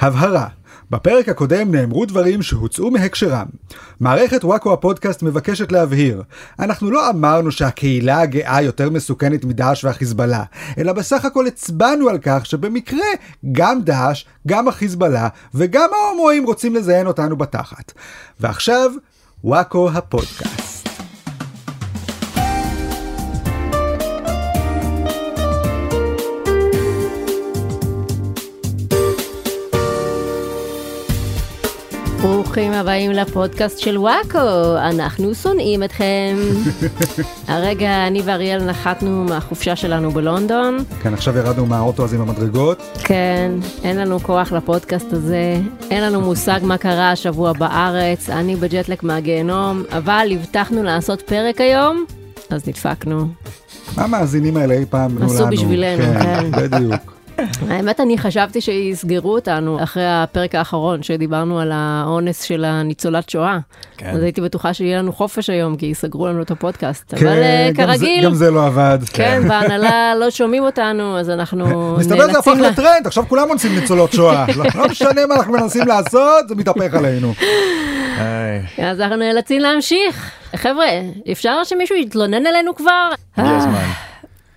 הבהרה בפרק הקודם נאמרו דברים שהוצאו מהקשרם. מערכת וואקו הפודקאסט מבקשת להבהיר, אנחנו לא אמרנו שהקהילה הגאה יותר מסוכנת מדאעש והחיזבאללה, אלא בסך הכל הצבענו על כך שבמקרה גם דאעש, גם החיזבאללה וגם ההומואים רוצים לזיין אותנו בתחת. ועכשיו, וואקו הפודקאסט. ברוכים הבאים לפודקאסט של וואקו, אנחנו שונאים אתכם. הרגע אני ואריאל נחתנו מהחופשה שלנו בלונדון. כן, עכשיו ירדנו מהאוטו הזה עם המדרגות. כן, אין לנו כוח לפודקאסט הזה, אין לנו מושג מה קרה השבוע בארץ, אני בג'טלק מהגיהנום, אבל הבטחנו לעשות פרק היום, אז נדפקנו. מה המאזינים האלה אי פעם עשו בשבילנו, כן. כן. בדיוק. האמת, אני חשבתי שיסגרו אותנו אחרי הפרק האחרון שדיברנו על האונס של הניצולת שואה. כן. אז הייתי בטוחה שיהיה לנו חופש היום, כי יסגרו לנו את הפודקאסט. כן, אבל אה, גם זה- כרגיל, גם זה לא עבד. כן, בהנהלה לא שומעים אותנו, אז אנחנו מסתבר זה הפך נאלצים... לה- לטרנד, עכשיו כולם אונסים ניצולות שואה. לא לא משנה מה אנחנו מנסים לעשות, זה מתהפך עלינו. אז אנחנו נאלצים להמשיך. חבר'ה, אפשר שמישהו יתלונן עלינו כבר? הגיע אה, הזמן.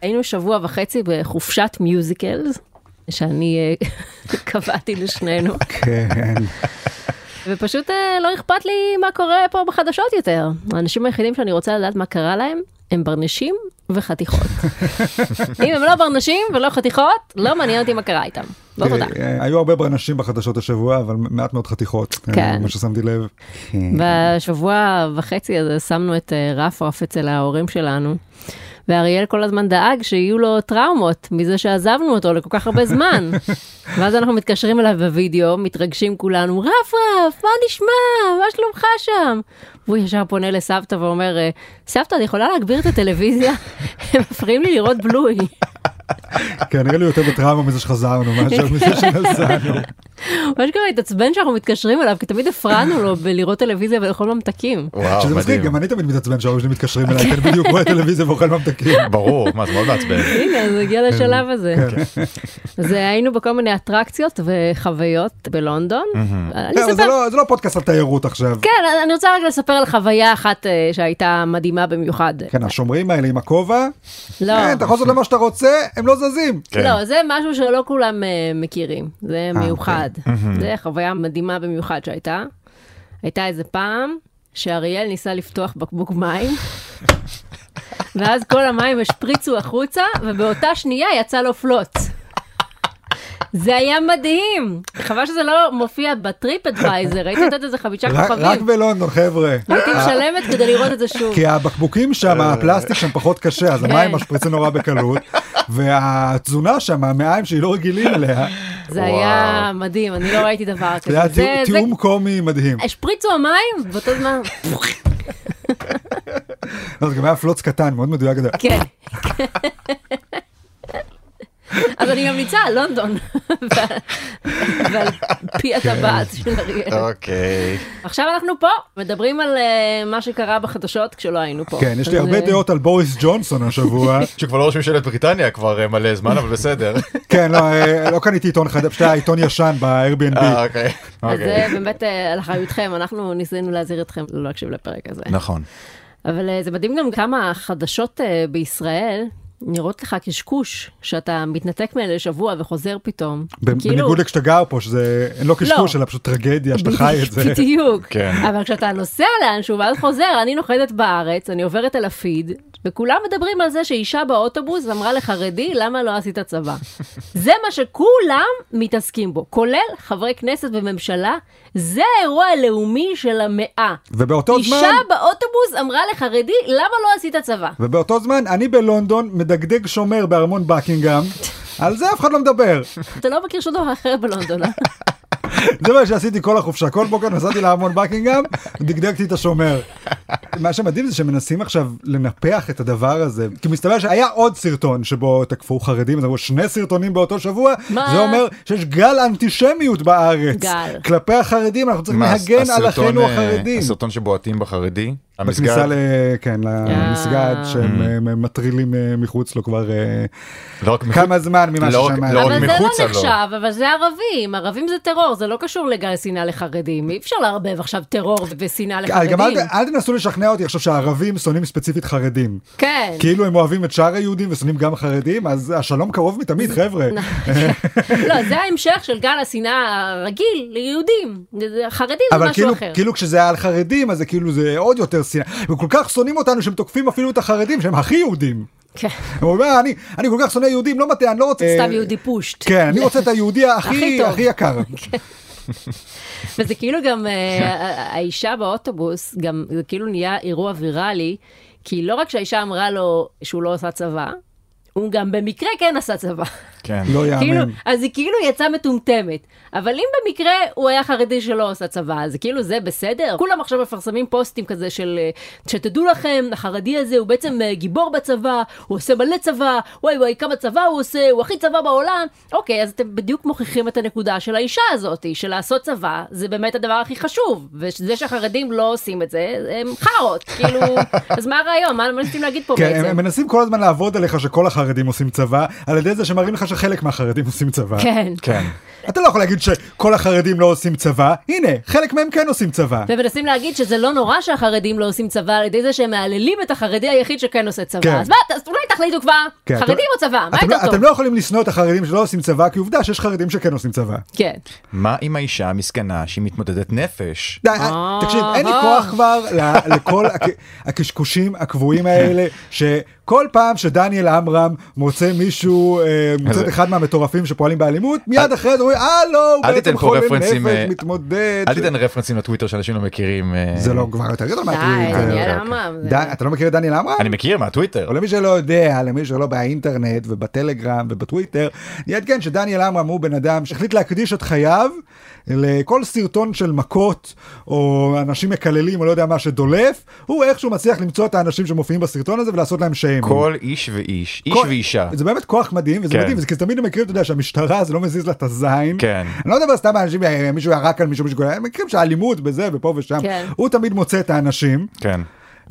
היינו שבוע וחצי בחופשת מיוזיקלס, שאני אה, קבעתי לשנינו, כן. ופשוט אה, לא אכפת לי מה קורה פה בחדשות יותר. האנשים היחידים שאני רוצה לדעת מה קרה להם, הם ברנשים וחתיכות. אם הם לא ברנשים ולא חתיכות, לא מעניין אותי מה קרה איתם. לא תראי, תודה. אה, היו הרבה ברנשים בחדשות השבוע, אבל מעט מאוד חתיכות. אה, כן. מה ששמתי לב. בשבוע וחצי הזה שמנו את אה, רפרף אצל ההורים שלנו, ואריאל כל הזמן דאג שיהיו לו טראומות מזה שעזבנו אותו לכל כך הרבה זמן. ואז אנחנו מתקשרים אליו בווידאו, מתרגשים כולנו, רפרף, מה נשמע? מה שלומך שם? והוא ישר פונה לסבתא ואומר, אה, סבתא, את יכולה להגביר את הטלוויזיה? הם מפריעים לי לראות בלוי. כן, נראה לי יותר בטראומה מזה שחזרנו, מאשר מזה שנסענו. ממש גם התעצבן שאנחנו מתקשרים אליו, כי תמיד הפרענו לו בלראות טלוויזיה ולאכול ממתקים. וואו, שזה מצחיק, מדהים. גם אני תמיד מתעצבן שההורים שלי מתקשרים אליי, כי אני בדיוק רואה טלוויזיה ואוכל ממתקים. ברור, מה זה מאוד מעצבן. הנה, זה הגיע כן. לשלב הזה. אז היינו בכל מיני אטרקציות וחוויות בלונדון. אני כן, אבל זה אספר... לא- זה לא פודקאסט על תיירות עכשיו. כן, אני רוצה רק לספר על חוויה אחת אה, שהייתה מדהימה במיוחד. כן, השומרים האלה עם הכובע, לא, כן, אתה יכול לעשות להם מה שאתה רוצה, הם לא זזים. כן. לא, זה משהו שלא כולם אה, מכירים, זה אה, מיוחד. אוקיי. זה חוויה מדהימה במיוחד שהייתה. הייתה איזה פעם שאריאל ניסה לפתוח בקבוק מים, ואז כל המים השפריצו החוצה, ובאותה שנייה יצא לו פלוץ. זה היה מדהים, חבל שזה לא מופיע בטריפ אדוויזר, הייתי נותנת איזה חמישה רק רק אה. כן. כוכבים, בלונדון, חבר'ה. הייתי משלמת כדי לראות את זה שוב. כי הבקבוקים שם, הפלסטיק שם פחות קשה, כן. אז המים משפריצים נורא בקלות, והתזונה שם, המעיים שהיא לא רגילים אליה, זה היה מדהים, אני לא ראיתי דבר זה היה כזה. זה- תיאום- זה תיאום קומי מדהים. השפריצו המים, באותו זמן, לא, זה גם היה פלוץ קטן, מאוד מדויק. כזה. כן. אז אני ממליצה על לונדון, ועל- ועל פי כן. הטבעת של אה, אריאל. אוקיי. עכשיו אנחנו פה, מדברים על אה, מה שקרה בחדשות כשלא היינו פה. כן, יש לי אז, הרבה אה, דעות על בוריס ג'ונסון השבוע. שכבר לא רושמים שלט בריטניה כבר אה, מלא זמן, אבל בסדר. כן, לא, אה, לא קניתי עיתון חדש, פשוט היה עיתון ישן ב-Airbnb. אה, אוקיי. אז זה אוקיי. באמת אה, על אחריותכם, אנחנו ניסינו להזהיר אתכם לא להקשיב לפרק הזה. נכון. אבל אה, זה מדהים גם כמה החדשות אה, בישראל נראות לך קשקוש, שאתה מתנתק מהן לשבוע וחוזר פתאום. ב- כאילו- בניגוד לכשאתה גר פה, שזה אין לא קשקוש, אלא פשוט טרגדיה, שאתה חי את זה. בדיוק. כן. אבל כשאתה נוסע לאנשהו ואז חוזר, אני נוחתת בארץ, אני עוברת על הפיד, וכולם מדברים על זה שאישה באוטובוס אמרה לחרדי, למה לא עשית צבא? זה מה שכולם מתעסקים בו, כולל חברי כנסת וממשלה, זה האירוע הלאומי של המאה. ובאותו זמן... אישה באוטובוס אמרה לחרדי, למה לא עשית צבא? ובאותו זמן, אני בלונדון, מדגדג שומר בארמון בקינגהם. על זה אף אחד לא מדבר. אתה לא מכיר שום דבר אחר בלונדון. אה? זה מה שעשיתי כל החופשה. כל בוקר נסעתי לארמון בקינגהם, דגדגתי את השומר. מה שמדהים זה שמנסים עכשיו לנפח את הדבר הזה. כי מסתבר שהיה עוד סרטון שבו תקפו חרדים, אז אמרו שני סרטונים באותו שבוע. מה? זה אומר שיש גל אנטישמיות בארץ. גל. כלפי החרדים, אנחנו צריכים מה, להגן על הסרטון, אחינו אה, החרדים. הסרטון שבועטים בחרדי? בכניסה המסגד, ל... כן, למסגד שהם אה, Mm-hmm. מטרילים אה, מחוץ לו כבר אה, לא רק מחוץ- כמה זמן ממה לא- ששמעתי. לא רק אבל זה מחוצה לא לו. נחשב, אבל זה ערבים. ערבים זה טרור, זה לא קשור לגל שנאה לחרדים. אי אפשר לערבב עכשיו טרור ושנאה אה, גם אל לחרדים. ת- אל תנסו לשכנע אותי עכשיו שהערבים שונאים ספציפית חרדים. כן. כאילו הם אוהבים את שאר היהודים ושונאים גם חרדים, אז השלום קרוב מתמיד, חבר'ה. נכון, לא, זה ההמשך של גל השנאה הרגיל ליהודים. חרדים זה אבל משהו כאילו, אחר. כאילו כשזה היה על חרדים, אז זה כאילו זה עוד יותר שנאה. וכל כך שונאים אותנו שהם תוקפים אפילו את החרדים, שהם הכי יהודים. כן. הם אומרים, "אה, אני, אני כל כך שונא יהודים, לא מטה, אני לא רוצה... סתם אה, יהודי פושט. כן, אני רוצה את היהודי הכי הכי טוב. הכי יקר. וזה כאילו גם אה, האישה באוטובוס, גם זה כאילו נהיה אירוע ויראלי, כי לא רק שהאישה אמרה לו שהוא לא עשה צבא, הוא גם במקרה כן עשה צבא. כן. לא כאילו, יאמן. אז היא כאילו יצאה מטומטמת. אבל אם במקרה הוא היה חרדי שלא עשה צבא, אז כאילו זה בסדר? כולם עכשיו מפרסמים פוסטים כזה של אה, שתדעו לכם, החרדי הזה הוא בעצם אה, גיבור בצבא, הוא עושה מלא צבא, וואי וואי כמה צבא הוא עושה, הוא הכי צבא בעולם. אוקיי, אז אתם בדיוק מוכיחים את הנקודה של האישה הזאת, של לעשות צבא, זה באמת הדבר הכי חשוב. וזה שהחרדים לא עושים את זה, הם חארות. כאילו, אז מה הרעיון? מה מה ניסיתם להגיד פה כן, הם- בעצם? הם מנסים כל הזמן לעבוד עליך שכל החרדים עושים צבא, על ידי זה שמראים לך שחלק מהחרדים עושים צבא. כן. כן. אתה לא יכול להגיד שכל החרדים לא עושים צבא, הנה, חלק מהם כן עושים צבא. ומנסים להגיד שזה לא נורא שהחרדים לא עושים צבא על ידי זה שהם מהללים את החרדי היחיד שכן עושה צבא. כן. אז מה, אז אולי תחליטו כבר, כן, אתם- חרדים או צבא, מה אתם יותר לא- טוב? אתם לא יכולים לשנוא את החרדים שלא עושים צבא, כי עובדה שיש חרדים שכן עושים צבא. כן. מה עם האישה המסכנה שהיא מתמודדת נפש? די, אה, תקשיב, אין לי כוח כבר ל- לכל הק- הקשקושים כן. הקבועים האלה, שכל פעם שדניאל עמרם מוצא מישהו, אה, מוצא את אז- אחד מהמטורפים שפועלים באלימות, מיד אחרי זה אומרים, אה לא, הוא אל בעצם תיתן פה חולה נפש, רפרנסים, אה, מתמודד. אל תיתן רפרנסים לטוויטר שאנשים לא מכירים. אה, זה לא כבר יותר גדול די, מהטוויטר. דניאל אוקיי, עמרם. זה- די, אתה לא מכיר את דניאל עמרם? אני מכיר מהטוויטר. או למי שלא יודע, למי שלא באינטרנט ובטלגרם ובטוויטר, אני אעדכן שדניאל עמרם הוא בן אדם שהחליט להקדיש את חייו לכל סרטון של מכות, או אנשים מקללים, או לא יודע מה שדולף, הוא איכשהו מצליח למצוא את האנשים שמופיעים בסרטון הזה ולעשות להם שיימינג. כל איש ואיש, איש כל- ואישה. זה באמת כוח מדהים, וזה כן. מדהים, זה כי תמיד הם מכירים, אתה יודע, שהמשטרה זה לא מזיז לה את הזין. כן. אני לא מדבר סתם על אנשים, אה, מישהו ירק על מישהו, מישהו, הם מכירים שהאלימות בזה ופה ושם. כן. הוא תמיד מוצא את האנשים, כן.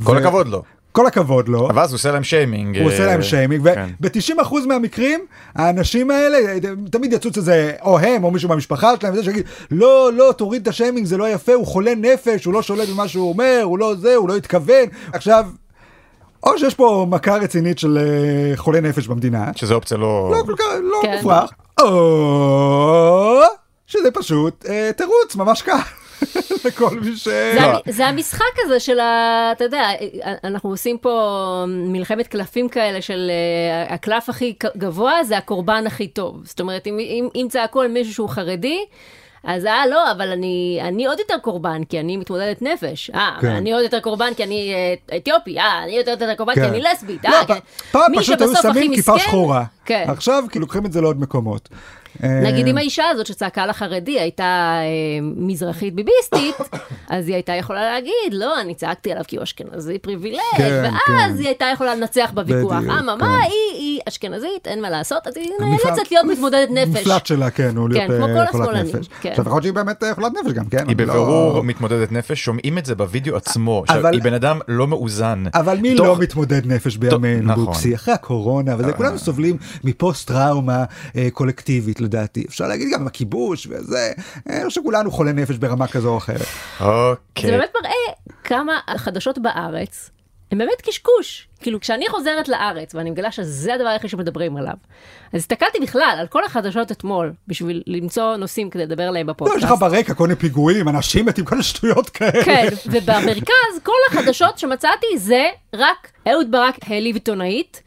ו- כל הכבוד לו. כל הכבוד לו. אבל אז הוא עושה להם שיימינג. הוא אה, עושה להם שיימינג, כן. וב-90% מהמקרים האנשים האלה תמיד יצוץ איזה או הם או מישהו במשפחה שלהם וזה שיגיד לא לא תוריד את השיימינג זה לא יפה הוא חולה נפש הוא לא שולט במה שהוא אומר הוא לא זה הוא לא התכוון עכשיו או שיש פה מכה רצינית של אה, חולה נפש במדינה שזה אופציה לא... לא כל כך לא כן. מופרך או שזה פשוט אה, תירוץ ממש קל לכל מי ש... זה לא. המ- זה המשחק הזה של ה... אתה יודע, אנחנו עושים פה מלחמת קלפים כאלה של אה, הקלף הכי גבוה זה הקורבן הכי טוב. זאת אומרת, אם, אם, אם צעקו על מישהו שהוא חרדי, אז אה, לא, אבל אני, אני עוד יותר קורבן, כי אני מתמודדת נפש. אה, כן. כן. אני עוד יותר קורבן כי אני אה, אתיופי. אה, אני עוד יותר קורבן כן. כי אני לסבית. לא, אה, כן. פ- פעם מי פשוט היו שבסוף הכי שמים כיפה מסכן- שחורה. כן. עכשיו כאילו לוקחים את זה לעוד מקומות. אה, נגיד אם האישה הזאת שצעקה לחרדי הייתה אה, מזרחית ביביסטית, אז היא הייתה יכולה להגיד, לא, אני צעקתי עליו כי הוא אשכנזי פריבילג, כן, ואז כן. היא הייתה יכולה לנצח בוויכוח. בדיוק, כן. אממה, היא היא אשכנזית, אין מה לעשות, אז היא המפלט- נאלצת להיות מתמודדת נפש. מפלט שלה, כן, הוא להיות כן, כמו אה, כל חולת השמאלנים, נפש. כן. עכשיו, יכול להיות שהיא באמת אה, חולת נפש גם, כן? היא אני לא- אה, בבירור מתמודדת נפש, שומעים את זה בווידאו עצמו. עכשיו, אבל- היא בן אדם לא מאוזן. אבל מי תוך- לא מתמודד נפש בימינו, נכון. בוקסי, אחרי הקורונה, וזה, כולנו סובלים מפוסט טראומה אה, קולקטיבית, לדעתי. אפשר להגיד גם הכיבוש וזה, אה, שכולנו חולי נפש ברמה כזו או אחרת. כן. זה לא אוקיי. באמת מראה כמה החדשות בארץ הם באמת קשקוש. כאילו, כשאני חוזרת לארץ ואני מגלה שזה הדבר היחיד שמדברים עליו, אז הסתכלתי בכלל על כל החדשות אתמול, בשביל למצוא נושאים כדי לדבר עליהם לא, יש בפודקאסט. לך ברקע כל מיני פיגועים, אנשים מתים, כל מיני שטויות כאלה. כן, ובמרכז כל החדשות שמצאתי זה רק אהוד ברק העליב עיתונאית,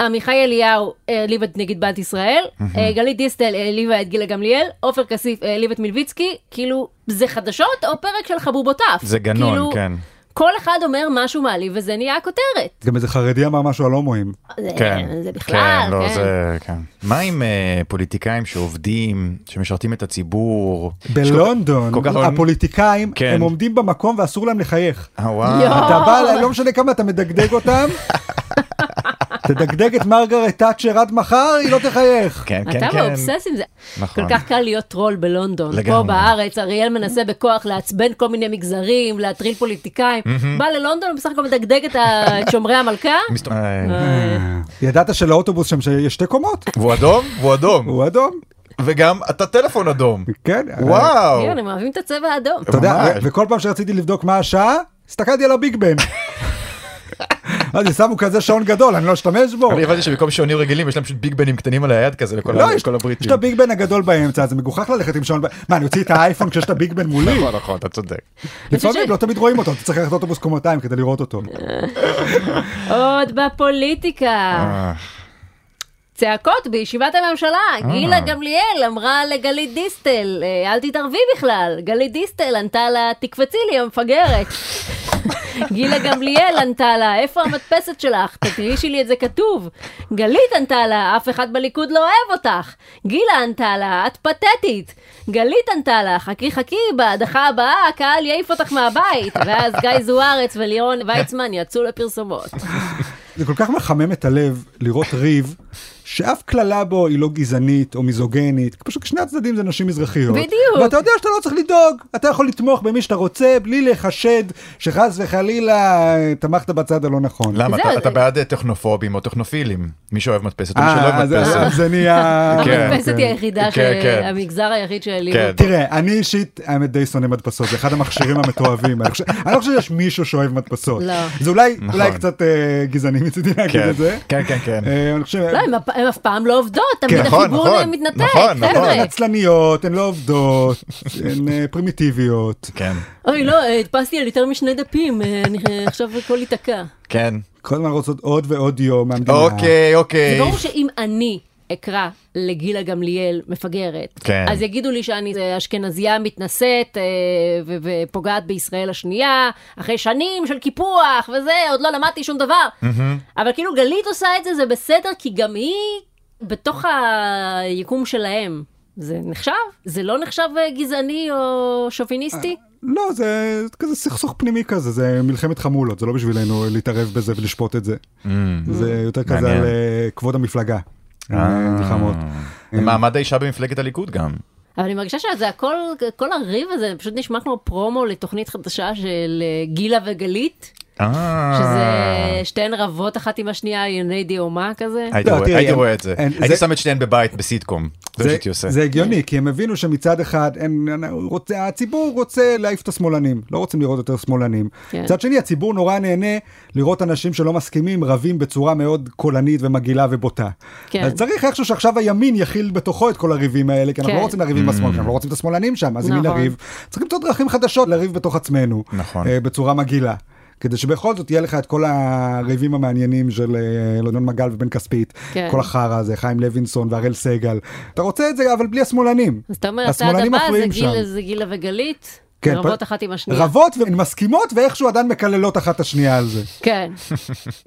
עמיחי אליהו העליב את נגיד בנק ישראל, אה, גלית דיסטל העליבה את גילה גמליאל, עופר כסיף העליב את מלביצקי, כאילו זה חדשות או פרק של חבובותיו. זה גנון, כאילו, כן. כל אחד אומר משהו מעליב וזה נהיה הכותרת. גם איזה חרדי אמר משהו על הומואים. זה- כן, זה בכלל, לא, כן. זה, כן. מה עם אה, פוליטיקאים שעובדים, שמשרתים את הציבור? בלונדון, כל כך הרבה- הפוליטיקאים, כן. הם עומדים במקום ואסור להם לחייך. אה, וואי. יואו. אתה בא, אליי, לא משנה כמה אתה מדגדג אותם, תדגדג את מרגרט תאצ'ר עד מחר, היא לא תחייך. כן, כן, אתה כן. מאובסס עם זה. נכון. כל כך קל להיות טרול בלונדון. פה לגמרי. בארץ, אריאל מנסה בכוח לעצבן כל מיני מגזרים, להטריל פוליטיקאים. בא ללונדון ובסך הכל מדגדג את ה- את שומרי המלכה. מסת- אה, ידעת שלאוטובוס שם שיש שתי קומות? והוא אדום? והוא אדום. הוא אדום. וגם אתה טלפון אדום. כן. וואו. כן, הם אוהבים את הצבע האדום. אתה יודע, ממש. ו- וכל פעם שרציתי לבדוק מה השעה, הסתכלתי על הביג בן. אז שמו כזה שעון גדול, אני לא אשתמש בו. אני הבנתי שבמקום שעונים רגילים יש להם פשוט ביג בנים קטנים על היד כזה לכל ה- לא, יש לכל יש הבריטים. את הביג בן הגדול באמצע, זה מגוחך ללכת עם שעון... ב- מה, אני אוציא את האייפון כשיש את הביג בן מולי? נכון, נכון, אתה צודק. לפעמים ש- אה. לא תמיד רואים אותו, אתה צריך ללכת לאוטובוס קומתיים כדי לראות אותו. עוד בפוליטיקה. אה, צעקות בישיבת הממשלה. גילה גמליאל אמרה לגלית דיסטל, "אה, אל תתערבי בכלל. גלית דיסטל ענתה לה, תקפצי לי המפגרת. גילה גמליאל ענתה לה, איפה המדפסת שלך? תגישי לי את זה כתוב. גלית ענתה לה, אף אחד בליכוד לא אוהב אותך. גילה ענתה לה, את פתטית. גלית ענתה לה, חכי חכי, בהדחה הבאה הקהל יעיף אותך מהבית. ואז גיא זוארץ ולירון ויצמן יצאו לפרסומות. זה כל כך מחמם את הלב לראות ריב, שאף קללה בו היא לא גזענית או מיזוגנית, פשוט שני הצדדים זה נשים מזרחיות. בדיוק. ואתה יודע שאתה לא צריך לדאוג, אתה יכול לתמוך במי שאתה רוצה, בלי לחשד שחס וחלילה אה, תמכת בצד הלא נכון. למה? זהו, אתה- אתה זה- בעד אה, טכנופובים או טכנופילים. מי שאוהב מדפסת או מי שלא אה, אוהב אז- אז מדפסת. אז זה נהיה... כן. המדפסת היא היחידה, כן, כן. המגזר היחיד שהעליב כן. אותו. תראה, אני אישית, האמת די שונא מדפסות, זה אחד המכשירים המתועבים. אני חושב- אני לא חושב שיש מישהו שאוהב מדפסות. לא. זה אולי אולי נכון. קצת אה, גזעני מצידי להגיד כן, את זה. כן, כן, כן. אה, אני חושב... לא, הם אף- הם אף פעם לא עובדות, תמיד נכון, החיבור נכון, מתנתק, נכון, נכון. חבר'ה. הן עצלניות, לא, הן לא עובדות, הן אה, פרימיטיביות. כן, אוי, לא, אה, הדפסתי על יותר משני דפים, אה, אני- אה, עכשיו הכל ייתקע. כן. כל הזמן רוצות עוד ועוד יום מהמדינה. אוקיי, זה אוקיי. ברור שאם אני אקרא לגילה גמליאל מפגרת, כן. אז יגידו לי שאני אה, אשכנזייה מתנשאת אה, ו- ופוגעת בישראל השנייה, אחרי שנים של קיפוח וזה, עוד לא למדתי שום דבר. אבל כאילו גלית עושה את זה, זה בסדר, כי גם היא בתוך היקום שלהם. זה נחשב? זה לא נחשב אה, גזעני או שוביניסטי? לא, זה זה כזה סכסוך פנימי כזה, זה מלחמת חמולות, זה לא בשבילנו להתערב בזה ולשפוט את זה. זה יותר כזה Mm. מעניין. על אה, כבוד המפלגה. אה. מלחמות. מעמד האישה במפלגת הליכוד גם. אבל אני מרגישה שזה הכל, כל הריב הזה פשוט נשמע כמו פרומו לתוכנית חדשה של אה, גילה וגלית, אה. שזה שתיהן רבות אחת עם השנייה, ענייני דיומה כזה. הייתי לא, רואה- תראי, הייתי הם- רואה את זה. הם- הייתי זה- שם את שתיהן בבית בסיטקום. זה מה זה- שהייתי עושה. זה הגיוני, כי הם הבינו שמצד אחד הם- הוא רוצה- הציבור רוצה להעיף את השמאלנים, לא רוצים לראות יותר שמאלנים. כן. מצד שני, הציבור נורא נהנה לראות אנשים שלא מסכימים רבים בצורה מאוד קולנית ומגעילה ובוטה. כן. אז צריך איכשהו שעכשיו הימין יכיל בתוכו את כל הריבים האלה, כי אנחנו כן. לא רוצים לריב עם Mm. השמאל, כי אנחנו לא רוצים את השמאלנים שם, אז עם מי נכון. לריב? צריך למצוא דרכים חדשות לריב בתוך עצמנו, נכון. אה, בצורה מגעילה. כדי שבכל זאת יהיה לך את כל הריבים המעניינים של אה, לונדון מגל ובן כספית, כן. כל החרא הזה, חיים לוינסון והראל סגל. אתה רוצה את זה, אבל בלי השמאלנים. אז אתה אומר, הצעד השמאלנים הבא זה מפריעים גילה, שם. זה גילה וגלית, כן, רבות פ- אחת עם השנייה. רבות והן מסכימות ואיכשהו עדיין מקללות אחת את השנייה על זה. כן,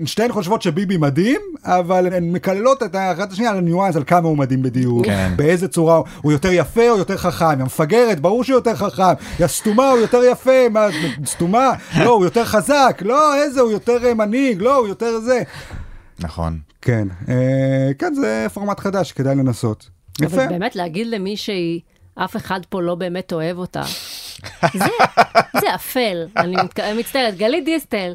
שתיהן חושבות שביבי מדהים, אבל הן מקללות את האחת השנייה על הניואנס, על כמה הוא מדהים בדיוק, כן. באיזה צורה, הוא- הוא יותר יפה או יותר חכם, המפגרת, ברור שהוא יותר חכם, יא סתומה, הוא יותר יפה, מה, סתומה, לא, הוא יותר חזק, לא, איזה, הוא יותר אה, מנהיג, לא, הוא יותר זה. נכון. כן, אה, כן, זה פורמט חדש, כדאי לנסות. יפה. אבל באמת להגיד למישהי, אף אחד פה לא באמת אוהב אותה. זה, זה אפל, אני מתק- מצטערת, גלית דיסטל.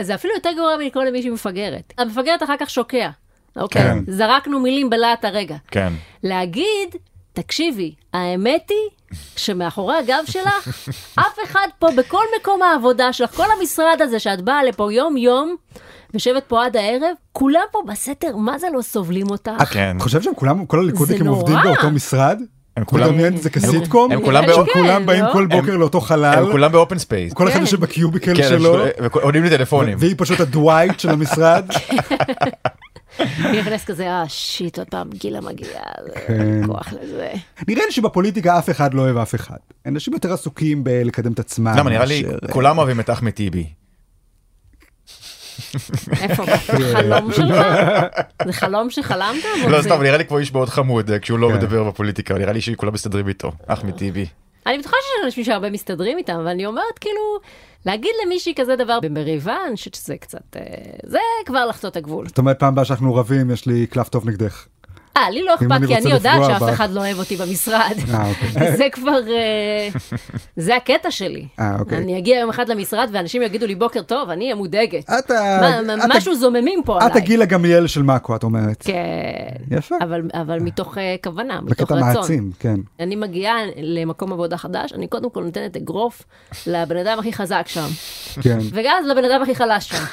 זה אפילו יותר גרוע מלקרוא למישהי מפגרת. המפגרת אחר כך שוקע. אוקיי, כן. זרקנו מילים בלהט הרגע. כן. להגיד, תקשיבי, האמת היא שמאחורי הגב שלך, אף אחד פה, בכל מקום העבודה שלך, כל המשרד הזה שאת באה לפה יום-יום, יושבת פה עד הערב, כולם פה בסתר, מה זה לא סובלים אותך? כן. חושב שהם כולם, כל הליכודניקים נורא. עובדים באותו משרד? הם אתה מדמיין את זה כסיטקום? הם כולם נראה לי בא- שכן, כולם באים לא? כל בוקר הם- לאותו חלל, הם כולם באופן ספייס. כל אחד כן. יושב בקיוביקל כן, הם שלו, שכו- וכו- עונים לי טלפונים. והיא פשוט הדווייט של המשרד. אני נכנס כזה, אה, שיט, עוד פעם גילה מגיעה, זה- אין כוח לזה. נראה לי שבפוליטיקה אף אחד לא אוהב אף אחד. אנשים יותר עסוקים בלקדם את עצמם. למה נראה לי מאשר- אה, כולם אוהבים את אחמד טיבי. אוקיי. איפה, חלום שלך? זה חלום שחלמת? אבל לא זה- סתם נראה לי כמו איש מאוד חמוד אה, כשהוא לא כן. מדבר בפוליטיקה נראה לי שכולם מסתדרים איתו אחמד טיבי. אני בטוחה שיש אנשים שהרבה מסתדרים איתם, אבל אני אומרת, כאילו, להגיד למישהי כזה דבר במריבה, אני חושבת שזה קצת... אה, זה כבר לחצות את הגבול. זאת אומרת, פעם הבאה שאנחנו רבים, יש לי קלף טוב נגדך. אה, לי לא אני אכפת, כי רוצה אני יודעת לפגוע שאף בך. אחד לא אוהב אותי במשרד. אה, אוקיי. אז זה כבר... אה, זה הקטע שלי. אה, אוקיי. אני אגיע יום אחד למשרד ואנשים יגידו לי בוקר טוב, אני אהיה מודאגת. את ה- מה- מה- את ה- משהו זוממים פה את עליי. הגילה גמליאל של מאקו, את אומרת. כן. אה, יפה. אבל- אבל מתוך אה, כוונה, מתוך בקטע רצון. מעצים, כן. אני מגיעה למקום עבודה חדש, אני קודם כל נותנת אגרוף לבן אדם הכי חזק שם, כן. ואז לבן אדם הכי חלש שם,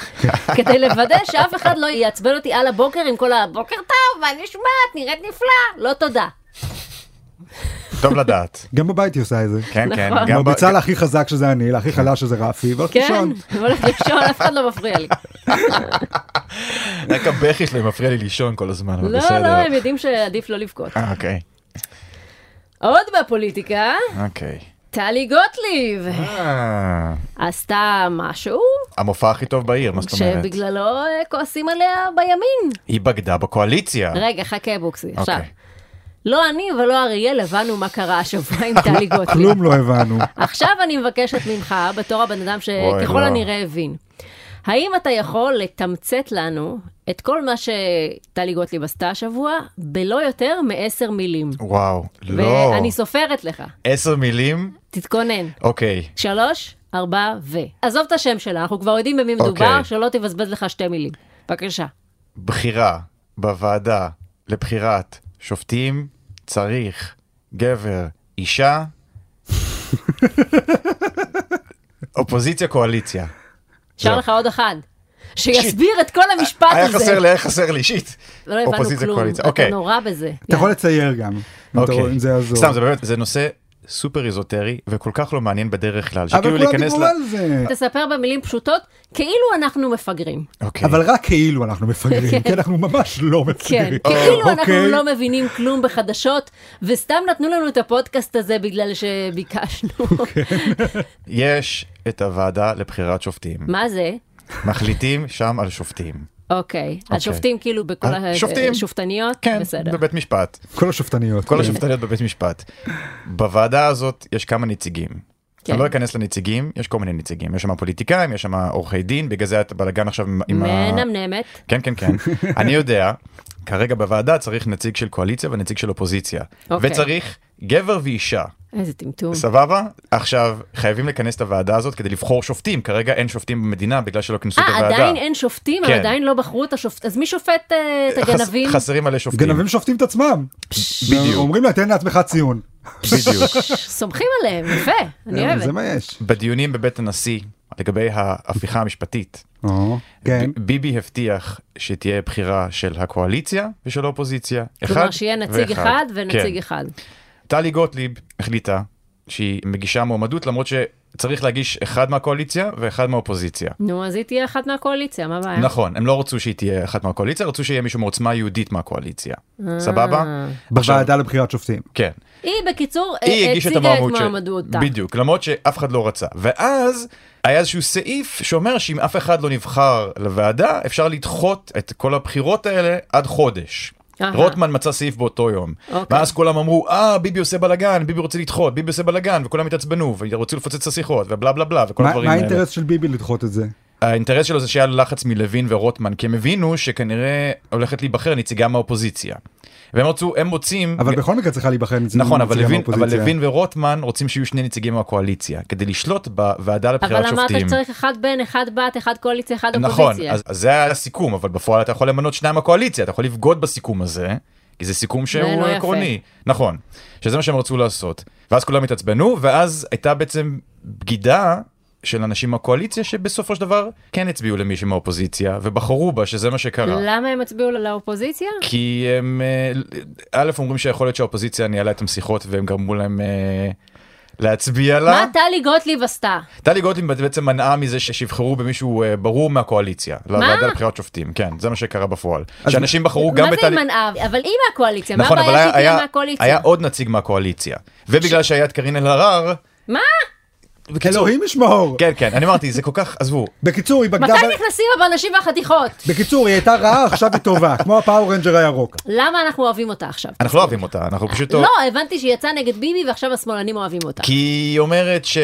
כדי לוודא שאף אחד לא יעצבן אותי על הבוקר עם כל הבוקר טוב, מה נשמע, את נראית נפלא, לא תודה. טוב לדעת. גם בבית היא עושה את זה. כן, כן. נכון. גם ב- מרביצה להכי חזק שזה אני, להכי חלש שזה רפי, והולכת כן, לישון. הולך לישון, אף אחד לא מפריע לי. רק הבכי שלהם מפריע לי לישון כל הזמן, אבל לא, בסדר. לא, הם יודעים שעדיף לא לבכות. אה, אוקיי, עוד בפוליטיקה, אוקיי. טלי גוטליב אה, עשתה משהו המופע הכי טוב בעיר, מה זאת אומרת? שבגללו אה, כועסים עליה בימין. היא בגדה בקואליציה. רגע, חכה בוקסי, עכשיו. אה. אוקיי. לא אני ולא אריאל הבנו מה קרה השבוע עם טלי גוטליב. כלום לא הבנו. עכשיו אני מבקשת ממך, בתור הבן אדם אוי, שככל לא. הנראה הבין, האם אתה יכול לתמצת לנו את כל מה שטלי גוטליב עשתה השבוע בלא יותר מעשר מילים? וואו, לא. ואני סופרת לך, עשר מילים? תתכונן. אוקיי. שלוש, ארבע ו... עזוב את השם שלה, אנחנו כבר יודעים במי מדובר, אוקיי. לא. שלא תבזבז לך שתי מילים. בבקשה. בחירה בוועדה לבחירת שופטים צריך גבר, אישה, אופוזיציה, קואליציה. נשאר זהו. לך עוד אחד. שיסביר את כל המשפט הזה. היה חסר לי, היה חסר לי, שיט. לא הבנו אופוזיציה, כלום, קואליציה, אתה אוקיי. נורא בזה. אתה יכול לצייר גם, אם אתה רואה, אם זה יעזור. סתם, זה באמת, זה נושא סופר איזוטרי וכל כך לא מעניין בדרך כלל, אבל שכאילו כולם להיכנס דיברו ל... על זה. תספר במילים פשוטות, כאילו אנחנו מפגרים. אוקיי. אבל רק כאילו אנחנו מפגרים, כי אנחנו ממש לא כן, מפגרים. אה, כאילו אנחנו אוקיי. לא מבינים כלום בחדשות, וסתם נתנו לנו את הפודקאסט הזה בגלל שביקשנו. יש את הוועדה לבחירת שופטים. מה זה? מחליטים שם על שופטים. אוקיי, אז שופטים כאילו בכל אה, שופטים. השופטניות? כן, בסדר. בבית משפט. כל השופטניות. כל כן. השופטניות בבית משפט. בוועדה הזאת יש כמה נציגים. כן. אני לא אכנס לנציגים, יש כל מיני נציגים. יש שם פוליטיקאים, יש שם עורכי דין, בגלל זה היה את הבלאגן עכשיו עם- עם ה... מנמנמת. כן, כן, כן. אני יודע, כרגע בוועדה צריך נציג של קואליציה ונציג של אופוזיציה. אוקיי. וצריך גבר ואישה. איזה טמטום. סבבה? עכשיו, חייבים לכנס את הוועדה הזאת כדי לבחור שופטים. כרגע אין שופטים במדינה בגלל שלא כינסו את אה, הוועדה. עדיין אין שופטים, אבל כן. עדיין לא בחרו את השופט... אז מי שופט אה, את חס- הגנבים? חסרים מלא שופטים. גנבים שופטים את עצמם. בדיוק. אומרים לה, תן לעצמך ציון. בדיוק. סומכים עליהם, יפה, אני אבל אוהבת. זה מה יש. בדיונים בבית הנשיא, לגבי ההפיכה המשפטית, או, כן. ב- ביבי הבטיח שתהיה בחירה של הקואליציה ושל האופוזיציה. כלומר אחד שיהיה נציג ואחד. אחד ונציג כן. אחד. טלי גוטליב החליטה שהיא מגישה מועמדות, למרות שצריך להגיש אחד מהקואליציה ואחד מהאופוזיציה. נו, אז היא תהיה אחת מהקואליציה, מה הבעיה? נכון, הם לא רצו שהיא תהיה אחת מהקואליציה, רצו שיהיה מישהו מעוצמה יהודית מהקואליציה. אה. סבבה? עכשיו- בוועדה לבחירת שופטים. כן. היא בקיצור היא אה, הגישה את הציגה את המועמדות מועמדותה. בדיוק, למרות שאף אחד לא רצה. ואז היה איזשהו סעיף שאומר שאם אף אחד לא נבחר לוועדה, אפשר לדחות את כל הבחירות האלה עד חודש. אהה. רוטמן מצא סעיף באותו יום. אוקיי. ואז כולם אמרו, אה, ביבי עושה בלאגן, ביבי רוצה לדחות, ביבי עושה בלאגן, וכולם התעצבנו, ורצו לפוצץ את השיחות, ובלה בלה בלה, וכל מה הדברים מה האלה. האינטרס של ביבי לדחות את זה? האינטרס שלו זה שהיה לו לחץ מלוין ורוטמן, כי הם הבינו שכנראה הולכת להיבחר נציגה מהאופוזיציה. והם רצו, הם רוצים... אבל בכל מקרה צריכה להיבחר נציגים כן. נכון, אבל לוין, אבל מהאופוזיציה. לוין ורוטמן רוצים שיהיו שני נציגים מהקואליציה, כדי לשלוט בוועדה לבחירת אבל שופטים. אמרת שצריך אחד בן, אחד בת, אחד קואליציה, אחד נכון, אופוזיציה. אז, אז זה היה הסיכום, אבל בפועל אתה יכול למנות שניים מהקואליציה, אתה יכול לבגוד בסיכום הזה, כי זה סיכום לא שהוא יפה. עקרוני. נכון, שזה מה שהם רצו לעשות. ואז כולם התעצבנו, ואז הייתה בעצם בגידה. של אנשים מהקואליציה שבסופו של דבר כן הצביעו למישהי מהאופוזיציה ובחרו בה שזה מה שקרה. למה הם הצביעו לא- לאופוזיציה? כי הם אה, א' אומרים שיכול להיות שהאופוזיציה ניהלה איתם שיחות והם גרמו להם אה, להצביע לה. מה טלי גוטליב עשתה? טלי גוטליב בעצם מנעה מזה ש- שיבחרו במישהו אה, ברור מהקואליציה. לוועדה לבחירת שופטים, כן, זה מה שקרה בפועל. שאנשים בחרו גם מה זה בטלי... היא מנעה? אבל היא מהקואליציה, מה נכון, אבל הבעיה שהיא היה, תהיה היה, מהקואליציה? היה עוד נציג מהקואליציה. ובגלל שהיה את קארין אלהרר, מה? בקיצור- אלוהים ישמור. כן, כן, אני אמרתי, זה כל כך, עזבו, בקיצור, היא בגדה... מתי ב- נכנסים הבנשים והחתיכות? בקיצור, היא הייתה רעה, עכשיו היא טובה, כמו הפאורנג'ר הירוק. כן. למה אנחנו אוהבים אותה עכשיו? אנחנו לא אוהבים אותה, אנחנו פשוט... לא, הבנתי שהיא יצאה נגד ביבי ועכשיו השמאלנים אוהבים אותה. כי היא אומרת ש...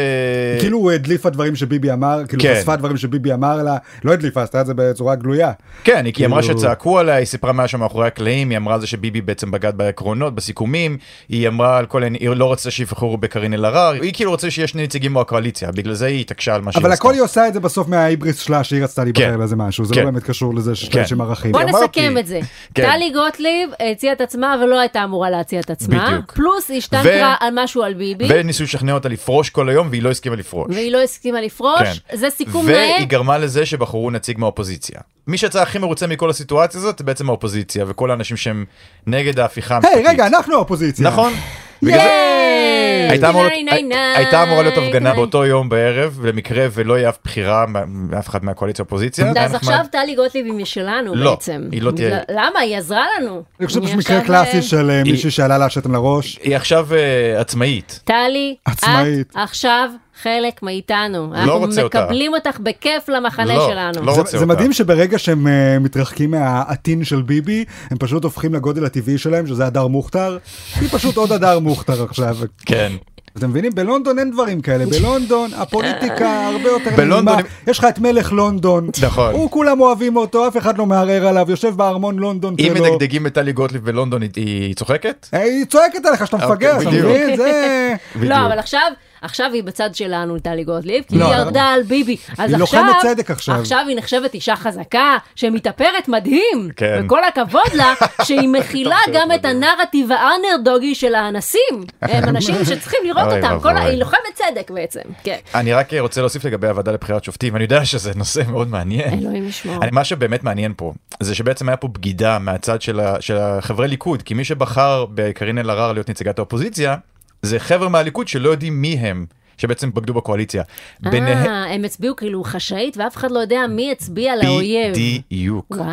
כאילו הוא הדליפה דברים שביבי אמר, כאילו כן. חשפה דברים שביבי אמר לה, לא הדליפה, עשתה את זה בצורה גלויה. כן, היא כי היא אמרה כאילו- שצעקו עליה, היא סיפרה מה שם מאחורי הקלעים, היא אמרה על זה שביבי בעצם בגד בעקרונות, בסיכומים, היא אמרה על כל העני- היא לא רצתה שיבחרו בקארין אלהרר, היא כאילו רוצה שיהיה שני נציגים מהקואליציה, בגלל זה היא התעקשה על מה שהיא אבל עשתה. הכל היא עושה את זה בסוף מההיבריס שלה, שהיא רצתה להיבחר כן. לזה משהו, זה לא כן. באמת קשור לזה שיש לאנשים ערכים. בוא אמרתי. נסכם את זה. כן. טלי גוטליב הציעה את עצמה ולא הייתה אמורה להציע את עצמה. בדיוק. פלוס היא השתנקרה על משהו על ביבי, וניסו לשכנע אותה לפרוש כל היום, והיא לא הסכימה לפרוש. והיא לא הסכימה לפרוש. כן. זה סיכום נאה. והיא גרמה לזה שבחרו נציג מהאופוזיציה. מי שיצא הכי מרוצה מכל הסיטואציה הזאת, זה בעצם האופוזיציה, וכל האנשים שהם נגד ההפיכה היי, רגע, אנחנו האופוזיציה. נכון? בגלל זה- ייי! הייתה אמור- ניי, ניי, ניי. הייתה אמורה להיות הפגנה ניי. באותו יום בערב, למקרה ולא יהיה אף בחירה מה- מאף אחד מהקואליציה אופוזיציה. אז עכשיו טלי גוטליב היא משלנו לא, בעצם. היא לא תהיה- בגלל- למה? היא עזרה לנו. אני חושב אני שיש מקרה עכשיו, קלאסי אה, של אה, מישהי היא- שעלה לה שתן לראש. היא עכשיו אה, עצמאית. טלי, עצמאית. את עכשיו חלק מאיתנו. אנחנו לא רוצה אותה. מקבלים אותך בכיף למחנה לא, שלנו. לא זה- רוצה זה אותה. מדהים שברגע שהם אה, מתרחקים מהעטין של ביבי, הם פשוט הופכים לגודל הטבעי שלהם, שזה הדר מוכתר. היא פשוט עוד הדר מוכתר עכשיו. כן. אתם מבינים? בלונדון אין דברים כאלה. בלונדון הפוליטיקה הרבה יותר בלונדון נעימה. הם- יש לך את מלך לונדון. נכון. הוא כולם אוהבים אותו, אף אחד לא מערער עליו, יושב בארמון לונדון אם שלו. מדגדגים את טלי גוטליב בלונדון, היא- היא צוחקת? אה, היא צועקת עליך שאתה אוקיי, מפגר, אתה בדיוק. מבין? זה... בדיוק. לא, אבל עכשיו, עכשיו היא בצד שלנו, טלי גוטליב, כי לא, היא אבל- ירדה על ביבי. אז היא עכשיו, לוחמת צדק עכשיו. עכשיו היא נחשבת אישה חזקה, שמתאפרת מדהים. כן. וכל הכבוד לה, שהיא מכילה גם את הנרטיב האנרדוגי של האנסים. הם אנשים שצריכים לראות אוי אותם. ואבוי. כל ה- היא לוחמת צדק בעצם. כן. אני רק אה, רוצה להוסיף לגבי הוועדה לבחירת שופטים, אני יודע שזה נושא מאוד מעניין. אלוהים ישמור. אני- מה שבאמת מעניין פה זה שבעצם היה פה בגידה מהצד של, ה, של החברי ליכוד כי מי שבחר בקארין אלהרר להיות נציגת האופוזיציה זה חבר'ה מהליכוד שלא יודעים מי הם שבעצם בגדו בקואליציה. ביניהם אה, הם הצביעו כאילו חשאית, ואף אחד לא יודע מי הצביע לאויב. בדיוק וואו.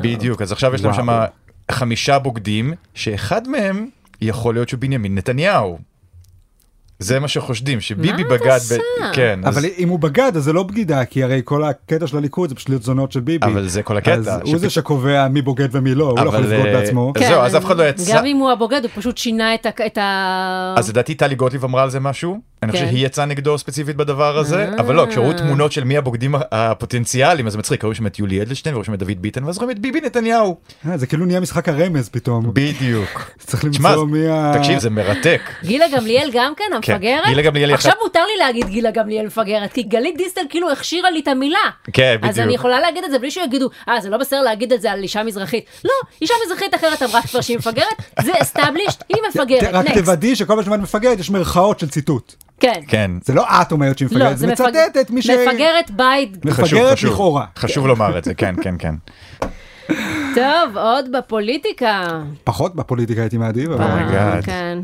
בדיוק אז עכשיו יש להם וואו. שם חמישה בוגדים שאחד מהם יכול להיות שהוא בנימין נתניהו. זה מה שחושדים שביבי מה אתה בגד עושה? כן אז- אבל אם הוא בגד, אז זה לא בגידה, כי הרי כל הקטע של הליכוד זה פשוט להיות זונות של ביבי. אבל זה כל הקטע, אז הוא שפת- זה שקובע מי בוגד ומי לא, הוא לא יכול אבל, לבגוד אה, בעצמו. אז זהו, אז אף אחד לא יצא- כן. גם אם הוא הבוגד, הוא פשוט שינה את ה- את ה... אז לדעתי טלי גוטליב אמרה על זה משהו, אני חושב כן. שהיא יצאה נגדו ספציפית בדבר הזה, אה. אבל לא, כשראו תמונות של מי הבוגדים הפוטנציאליים, אז זה מצחיק, ראו שם את יולי אדלשטיין וראו שם את דוד ביטן, ואז רואים את ביבי נתניהו. אה, זה כאילו נהיה משחק הרמז פתאום. בדיוק. צריך כן. תשמע, למצוא מי ה... תקשיב, זה מרתק. גילה גמליאל גם כן המפגרת? גילה גמליאל היא עכשיו אחת- מותר לי להגיד גילה גמליאל מפגרת, כי גלית דיסטל כאילו הכשירה לי את המילה. כן, אז אני בדיוק. יכולה להגיד את זה בלי שיגידו, אה, זה לא בסדר להגיד את זה על אישה מזרחית. לא, אישה מזרחית אחרת אמרה כבר שהיא מפגרת, זה established, היא ת- מפגרת. רק Next. תוודאי שכל פעם שאומרת מפגרת יש מירכאות של ציטוט. כן. כן. זה לא את אומרת שהיא לא, מפגרת, זה זה מפג- מצטטת מי ש... מפגרת בית. מפגרת חשוב, חשוב. לכאורה. חשוב לומר את זה, כן, כן, כן. טוב, עוד בפוליטיקה. פחות בפוליטיקה הייתי מעדיף, אבל... אומייגאד. פעם, כן.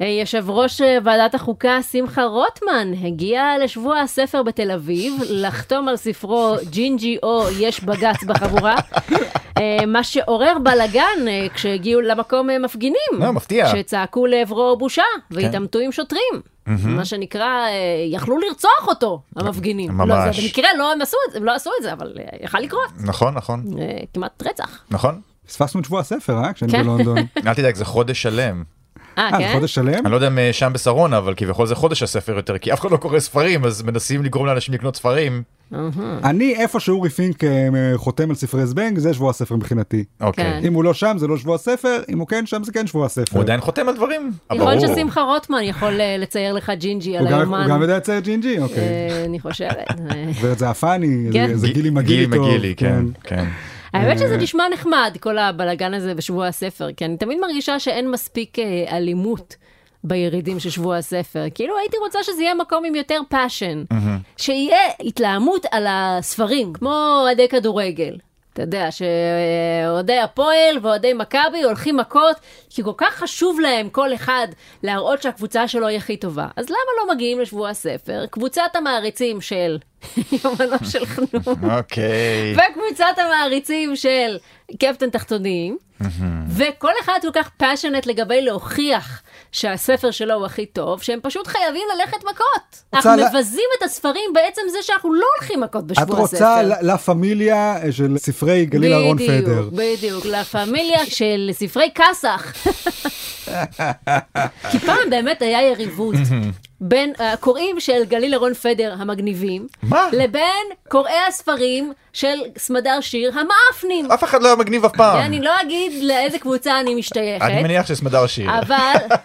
אה, יושב ראש אה, ועדת החוקה שמחה רוטמן הגיע לשבוע הספר בתל אביב לחתום על ספרו ג'ינג'י או יש בג"ץ בחבורה, אה, מה שעורר בלאגן אה, כשהגיעו למקום אה, מפגינים. לא, מפתיע. כן. שצעקו לעברו בושה והתעמתו עם שוטרים. מה שנקרא, אה, יכלו לרצוח אותו, המפגינים. לא, ממש. זה במקרה לא הם עשו את זה, הם לא עשו את זה, אבל אה, יכל לקרות. נכון, נכון, אה, כמעט רצח. נכון. פספסנו את שבוע הספר, אה? כשאני כן. בלונדון. אל תדאג, זה חודש שלם. אה, אה, זה כן? חודש שלם? אני לא יודע אם אה, שם בשרונה, אבל כביכול זה חודש הספר יותר, כי אף אחד לא קורא ספרים, אז מנסים לגרום לאנשים לקנות ספרים. אה. אני איפה שאורי פינק אה, חותם על ספרי זבנג, זה שבוע הספר מבחינתי. אוקיי. כן. אם הוא לא שם זה לא שבוע הספר, אם הוא כן שם זה כן שבוע הספר. הוא עדיין חותם על דברים. אה, יכול להיות ברור. ששמחה רוטמן יכול אה, לצייר לך ג'ינג'י על אה, הוא גם- הוא גם היומן. יודע לצייר ג'ינג'י? אוקיי. אה, אני חושבת. אה. גברת זעפני, כן. זה- זה גילי מגילי גילי טוב. מגילי, כן, כן. האמת שזה נשמע נחמד, כל הבלגן הזה בשבוע הספר, כי אני תמיד מרגישה שאין מספיק אה, אלימות. בירידים של שבוע הספר. כאילו הייתי רוצה שזה יהיה מקום עם יותר פאשן. שיהיה התלהמות על הספרים, כמו אוהדי כדורגל. אתה יודע, שאוהדי הפועל ואוהדי מכבי הולכים מכות, כי כל כך חשוב להם כל אחד להראות שהקבוצה שלו היא הכי טובה. אז למה לא מגיעים לשבוע הספר? קבוצת המעריצים של יומנו של חנון. אוקיי. וקבוצת המעריצים של קפטן תחתונים, וכל אחד כל כך passionate לגבי להוכיח שהספר שלו הוא הכי טוב, שהם פשוט חייבים ללכת מכות. אנחנו לה- מבזים את הספרים בעצם זה שאנחנו לא הולכים מכות את בשבוע הספר. רוצה לה- לה פמיליה אה, של ספרי גליל אהרון בדיוק, פדר. בדיוק, לה פמיליה של ספרי כסח. כי פעם באמת היה יריבות בין הקוראים של גליל אהרון פדר המגניבים, מה? לבין קוראי הספרים של סמדר שיר המאפנים. אף אחד לא היה מגניב אף פעם. אני לא אגיד לאיזה קבוצה אני משתייכת, אני מניח שסמדר שיר. אבל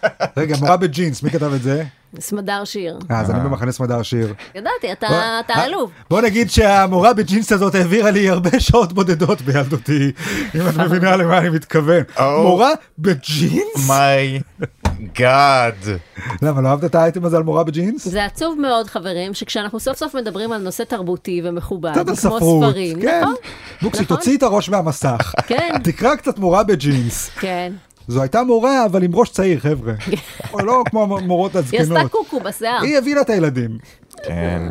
רגע, מורה בג'ינס, מי כתב את זה? סמדר שיר. אה, אז אני במחנה סמדר שיר. ידעתי, אתה בוא- אתה אה, עלוב. בוא נגיד שהמורה בג'ינס הזאת העבירה לי הרבה שעות בודדות בילדותי, אם את מבינה למה אני מתכוון. או. מורה בג'ינס? מיי גאד. למה, לא אהבת את האייטם הזה על מורה בג'ינס? זה עצוב מאוד, חברים, שכשאנחנו סוף סוף מדברים על נושא תרבותי ומכובד, קצת על כמו ספרות, ספרים, כן. נכון? בוקסי, נכון. תוציא את הראש מהמסך. כן. תקרא קצת מורה בג'ינס. כן. זו הייתה מורה, אבל עם ראש צעיר, חבר'ה. או לא כמו המורות היא עשתה הזקנות. קוקו בשיער. היא הבינה את הילדים. כן.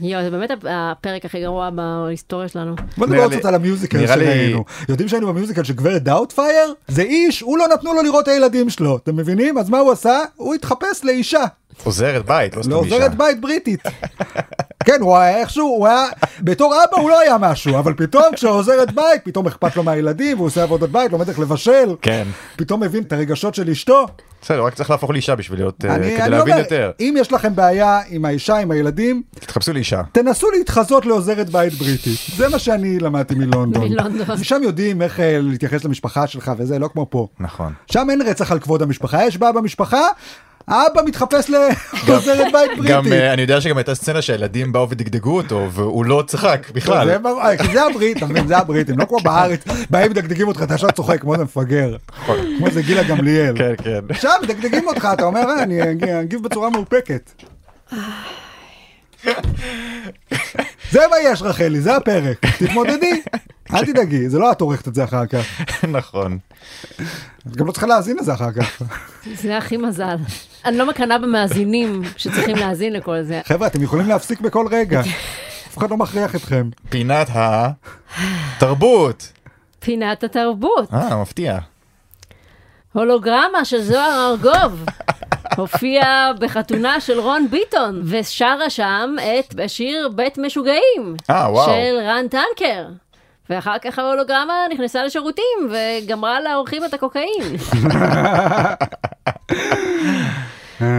יואו, זה באמת הפרק הכי גרוע בהיסטוריה שלנו. בוא נראה נדבר לי- קצת על המיוזיקל נראה לי- שראינו. יודעים שהיינו במיוזיקל של גברת דאוטפייר? זה איש, הוא לא נתנו לו לראות את הילדים שלו. אתם מבינים? אז מה הוא עשה? הוא התחפש לאישה. עוזרת בית, לא סתם לא אישה. עוזרת בית בריטית. כן, הוא היה איכשהו, הוא היה, בתור אבא הוא לא היה משהו, אבל פתאום כשעוזרת בית, פתאום אכפת לו מהילדים, והוא עושה עבודת בית, לומד איך לבשל. כן. פתאום מבין את הרגשות של אשתו. בסדר, רק צריך להפוך לאישה בשביל להיות... אה, אני- כדי אני לא להבין אומר, יותר. אם יש לכם בעיה עם האישה, עם הילדים, תחפשו לאישה. תנסו להתחזות לעוזרת בית בריטית. זה מה שאני למדתי מלונדון. מלונדון. שם יודעים איך אה, להתייחס למשפחה שלך וזה, לא כמו פה. נכון. שם אין רצח על כבוד המשפחה, יש בעיה במשפחה, האבא מתחפש לעוזרת בית גם בריטית. אה, אני יודע שגם הייתה סצנה שהילדים באו ודגדגו אותו והוא לא צחק בכלל. זה ברור, אה, כי זה הברית, אתה מבין? זה הברית, לא כמו בארץ, באים מדגדגים אותך, אתה ישר צוחק כמו איזה מפגר. כמו איזה גילה גמליאל. נכון. כן כן. שם מדגדגים אותך, אתה אומר, "אה, אני אג- אגיב בצורה מאופקת. זה מה יש, רחלי, זה הפרק. תתמודדי, אל תדאגי, זה לא את עורכת את זה אחר כך. נכון. את גם לא צריכה להאזין לזה אחר כך. זה הכי מזל. אני לא מקנאה במאזינים שצריכים להאזין לכל זה. חבר'ה, אתם יכולים להפסיק בכל רגע. אף אחד לא מכריח אתכם. פינת התרבות. פינת התרבות, אה, מפתיע. הולוגרמה של זוהר ארגוב. הופיעה בחתונה של רון ביטון, ושרה שם את השיר בית משוגעים. אה, וואו. של רן טנקר. ואחר כך ההולוגרמה נכנסה לשירותים, וגמרה לאורחים את הקוקאין.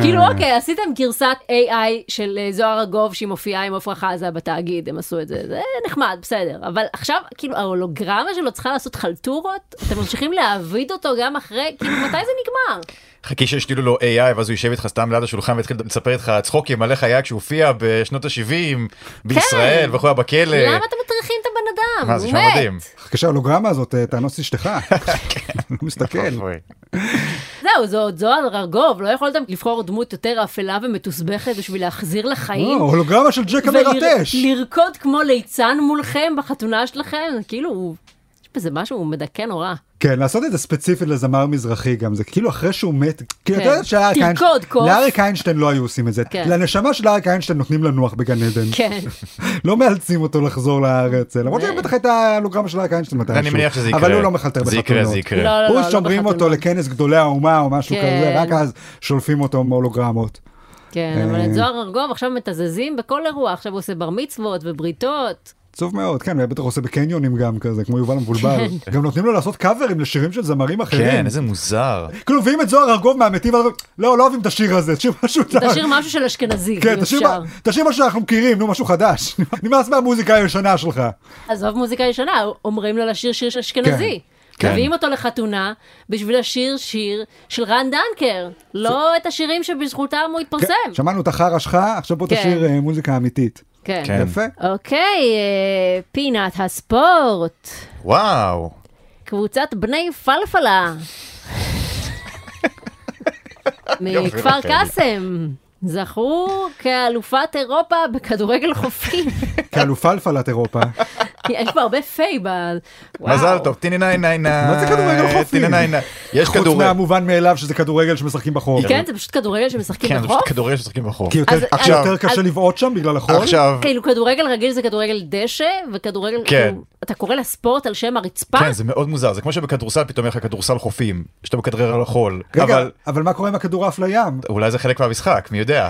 כאילו, אוקיי, עשיתם גרסת AI של אה, זוהר ארגוב, שהיא מופיעה עם עפרה חזה בתאגיד, הם עשו את זה, זה נחמד, בסדר. אבל עכשיו, כאילו, ההולוגרמה שלו צריכה לעשות חלטורות? אתם ממשיכים להעביד אותו גם אחרי, כאילו, מתי זה נגמר? חכי שישתילו לו AI ואז הוא יישב איתך סתם ליד השולחן ויתחיל לספר איתך צחוקים על איך היה כשהוא הופיע בשנות ה-70 בישראל ואיך הוא היה בכלא. כן. למה אתם מטריחים את הבן אדם? אה. מה, זה הוא שם מת. מדהים. אחרי שההולוגרמה הזאת אה, תאנוס אשתך. כן. לא מסתכל. אוי. זהו, זו עוד זוהר ארגוב, לא יכולתם לבחור דמות יותר אפלה ומתוסבכת בשביל להחזיר לחיים? אה, הולוגרמה של ג'ק המרטש. ולרקוד כמו ליצן מולכם בחתונה שלכם, זה כאילו, הוא- יש בזה משהו, הוא מדכא נורא. כן, לעשות את זה ספציפית לזמר מזרחי גם, זה כאילו אחרי שהוא מת, כאילו אתה כן. יודע שלאריק תרקוד, איינשטיין- קוף. לאריק איינשטיין לא היו עושים את זה. כן. לנשמה של אריק איינשטיין נותנים לנוח בגן עדן. כן. לא מאלצים אותו לחזור לארץ, אה, למרות ו- שבטח הייתה הולוגרמה של אריק איינשטיין מתישהו. אני מניח שזה יקרה. אבל הוא לא מחלטר בחתונות. זה יקרה, זה לא, יקרה. לא, לא, הוא לא שומרים בחתונה. אותו לכנס גדולי האומה או משהו כן. כזה, רק אז שולפים אותו מהולוגרמות. כן, אה. אבל את זוהר ארגוב עכשיו מתזזים בכל אירוע, עכשיו הוא עושה בר מצוות ובריתות. עצוב מאוד, כן, הוא בטח עושה בקניונים גם כזה, כמו יובל המבולבל. כן. גם נותנים לו לעשות קאברים לשירים של זמרים אחרים. כן, איזה מוזר. כאילו, מביאים את זוהר ארגוב מהמתים, ואז אומרים, לא, לא אוהבים את השיר הזה, תשאיר משהו... תשאיר משהו של אשכנזי, כן, אם תשאיר אפשר. מה- תשאיר מה שאנחנו מכירים, נו, משהו חדש. נמאס מהמוזיקה הישנה שלך. עזוב מוזיקה ישנה, אומרים לו לשיר שיר של אשכנזי. כן. מביאים אותו לחתונה בשביל לשיר שיר של רן דנקר, לא את השירים שבזכותם הוא התפרסם. כן, שמענו את החרא שלך, עכשיו בוא כן. תשאיר אה, מוזיקה אמיתית. כן. כן. יפה. אוקיי, אה, פינת הספורט. וואו. קבוצת בני פלפלה. יופי, מכפר רחלי. קאסם. זכו כאלופת אירופה בכדורגל חופים. כאלופה אלפלת אירופה. כי יש פה הרבה פיי ב... וואו. מזל טוב, טיני ניי ניי ניי. מה זה כדורגל חופים? טיני ניי ניי. יש חוץ כדורגל. מהמובן מאליו שזה כדורגל שמשחקים בחור. כן, זה פשוט כדורגל שמשחקים כן, זה בחוף. פשוט כדורגל שמשחקים בחור. כי יותר- אז- כי יותר אז- קשה אז- לבעוט שם בגלל החול? עכשיו, כאילו כדורגל רגיל זה כדורגל דשא, וכדורגל, כן. כאילו, אתה קורא לספורט על שם הרצפה? כן, זה מאוד מוזר, זה כמו שבכדורסל פתאום יהיה לך כדורסל חופים, שאתה מכדרר על החול, רגע, אבל אבל מה קורה עם הכדור עף לים? אולי זה חלק מהמשחק, מי יודע.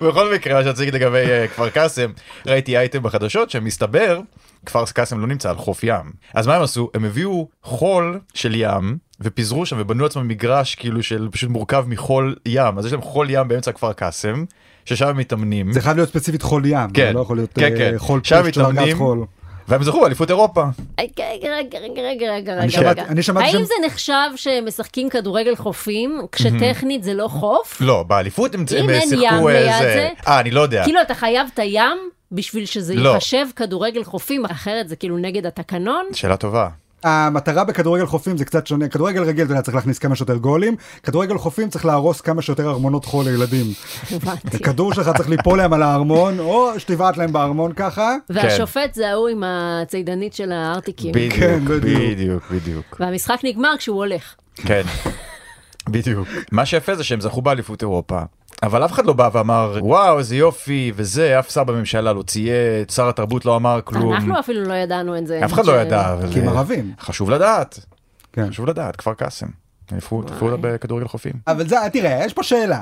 בכל מקרה, מה שרציתי להגיד לגבי אה, כפר קאסם, ראיתי אייטם בחדשות שמסתבר, כפר קאסם לא נמצא על חוף ים. אז מה הם עשו? הם הביאו חול של ים, ופיזרו שם ובנו לעצמם מגרש כאילו של פשוט מורכב מחול ים, אז יש להם חול ים באמצע כפר קאסם, ששם הם מתאמנים. זה חייב להיות ספציפית חול ים, כן. זה לא יכול להיות כן, אה, כן. חול שם פשוט של הרגעת מתאמנים. חול. והם זכו באליפות אירופה. אה, כן, רגע, רגע, רגע, רגע, אני רגע, שמעתי- רגע. אני שמעתי שם- האם זה נחשב שמשחקים כדורגל חופים, כשטכנית זה לא חוף? לא, באליפות הם אם הם אין ים שיחקו ליד איזה... זה- אה, אני לא יודע. כאילו אתה חייב את הים בשביל שזה לא. ייחשב כדורגל חופים, אחרת זה כאילו נגד התקנון? שאלה טובה. המטרה בכדורגל חופים זה קצת שונה, כדורגל רגיל אתה יודע צריך להכניס כמה שיותר גולים, כדורגל חופים צריך להרוס כמה שיותר ארמונות חול לילדים. הבנתי. כדור שלך צריך ליפול להם על הארמון, או שתבעט להם בארמון ככה. והשופט זה ההוא עם הצידנית של הארטיקים. כן, בדיוק, בדיוק. בדיוק, בדיוק. והמשחק נגמר כשהוא הולך. כן, בדיוק. מה שיפה זה שהם זכו באליפות אירופה. אבל אף אחד לא בא ואמר, וואו, איזה יופי, וזה, אף שר בממשלה לא צייץ, שר התרבות לא אמר כלום. אנחנו אפילו לא ידענו את זה. אף אחד לא ידע. אבל- כי הם ערבים. חשוב לדעת, כן. חשוב לדעת, כפר קאסם. עפו עפו בכדורגל חופים. אבל זה, תראה, יש פה שאלה.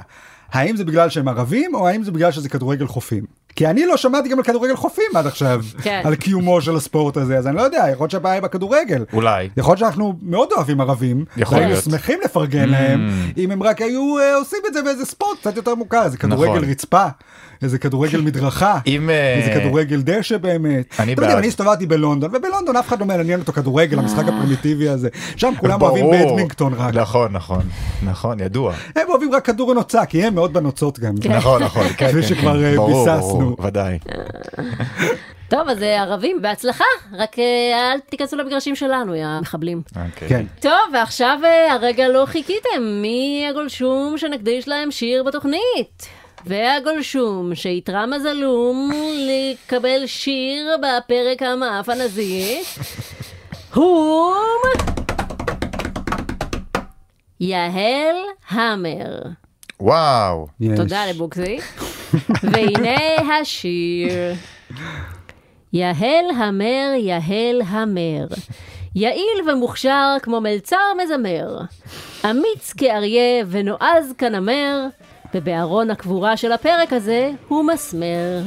האם זה בגלל שהם ערבים, או האם זה בגלל שזה כדורגל חופים? כי אני לא שמעתי גם על כדורגל חופים עד עכשיו, כן. על קיומו של הספורט הזה, אז אני לא יודע, יכול להיות שהבעיה היא בכדורגל. אולי. יכול להיות שאנחנו מאוד אוהבים ערבים, יכול והיינו להיות. Mm. שמחים לפרגן להם, אם הם רק היו אה, עושים את זה באיזה ספורט קצת יותר מוכר, איזה נכון. כדורגל רצפה, איזה כדורגל מדרכה, אם, אה, איזה כדורגל דשא באמת. אני אתם יודעים, בעד. אה. אני הסתובבתי בלונדון, ובלונדון אף אחד לא מעניין אותו כדורגל, המשחק הפרימיטיבי הזה. שם כולם אוהבים ברור. בדמינגטון רק. נכון, נכון, נכון, ידוע. הם אוהבים רק כדור נוצה, כי הם מאוד בנוצות גם. נכון, נכון, כן, כפי כן, שכבר, כן. אה, ברור, ביססנו. כן. ברור, ודאי. טוב, אז אה, ערבים, בהצלחה, רק אה, אל תיכנסו למגרשים שלנו, יא מחבלים. אוקיי. כן. טוב, ועכשיו אה, הרגע לא חיכיתם, מי הגולשום שנקדיש להם שיר בתוכנית? והגולשום שאיתרע מזלום לקבל שיר בפרק המאף הנזי, הוא... יהל המר. וואו. יש. תודה לבוקסי. והנה השיר. יהל המר, יהל המר. יעיל ומוכשר כמו מלצר מזמר. אמיץ כאריה ונועז כנמר. ובארון הקבורה של הפרק הזה הוא מסמר.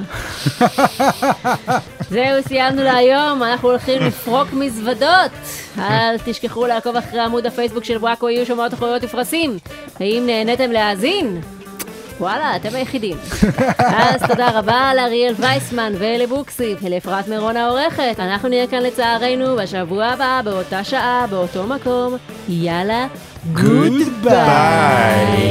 זהו, סיימנו להיום, אנחנו הולכים לפרוק מזוודות. אל תשכחו לעקוב אחרי עמוד הפייסבוק של וואקו, יהיו שם עוד תחרויות ופרסים. האם נהניתם להאזין? וואלה, אתם היחידים. אז תודה רבה לאריאל וייסמן ולבוקסי ולאפרת מירון העורכת. אנחנו נהיה כאן לצערנו בשבוע הבא, באותה שעה, באותו מקום. יאללה, גוד ביי.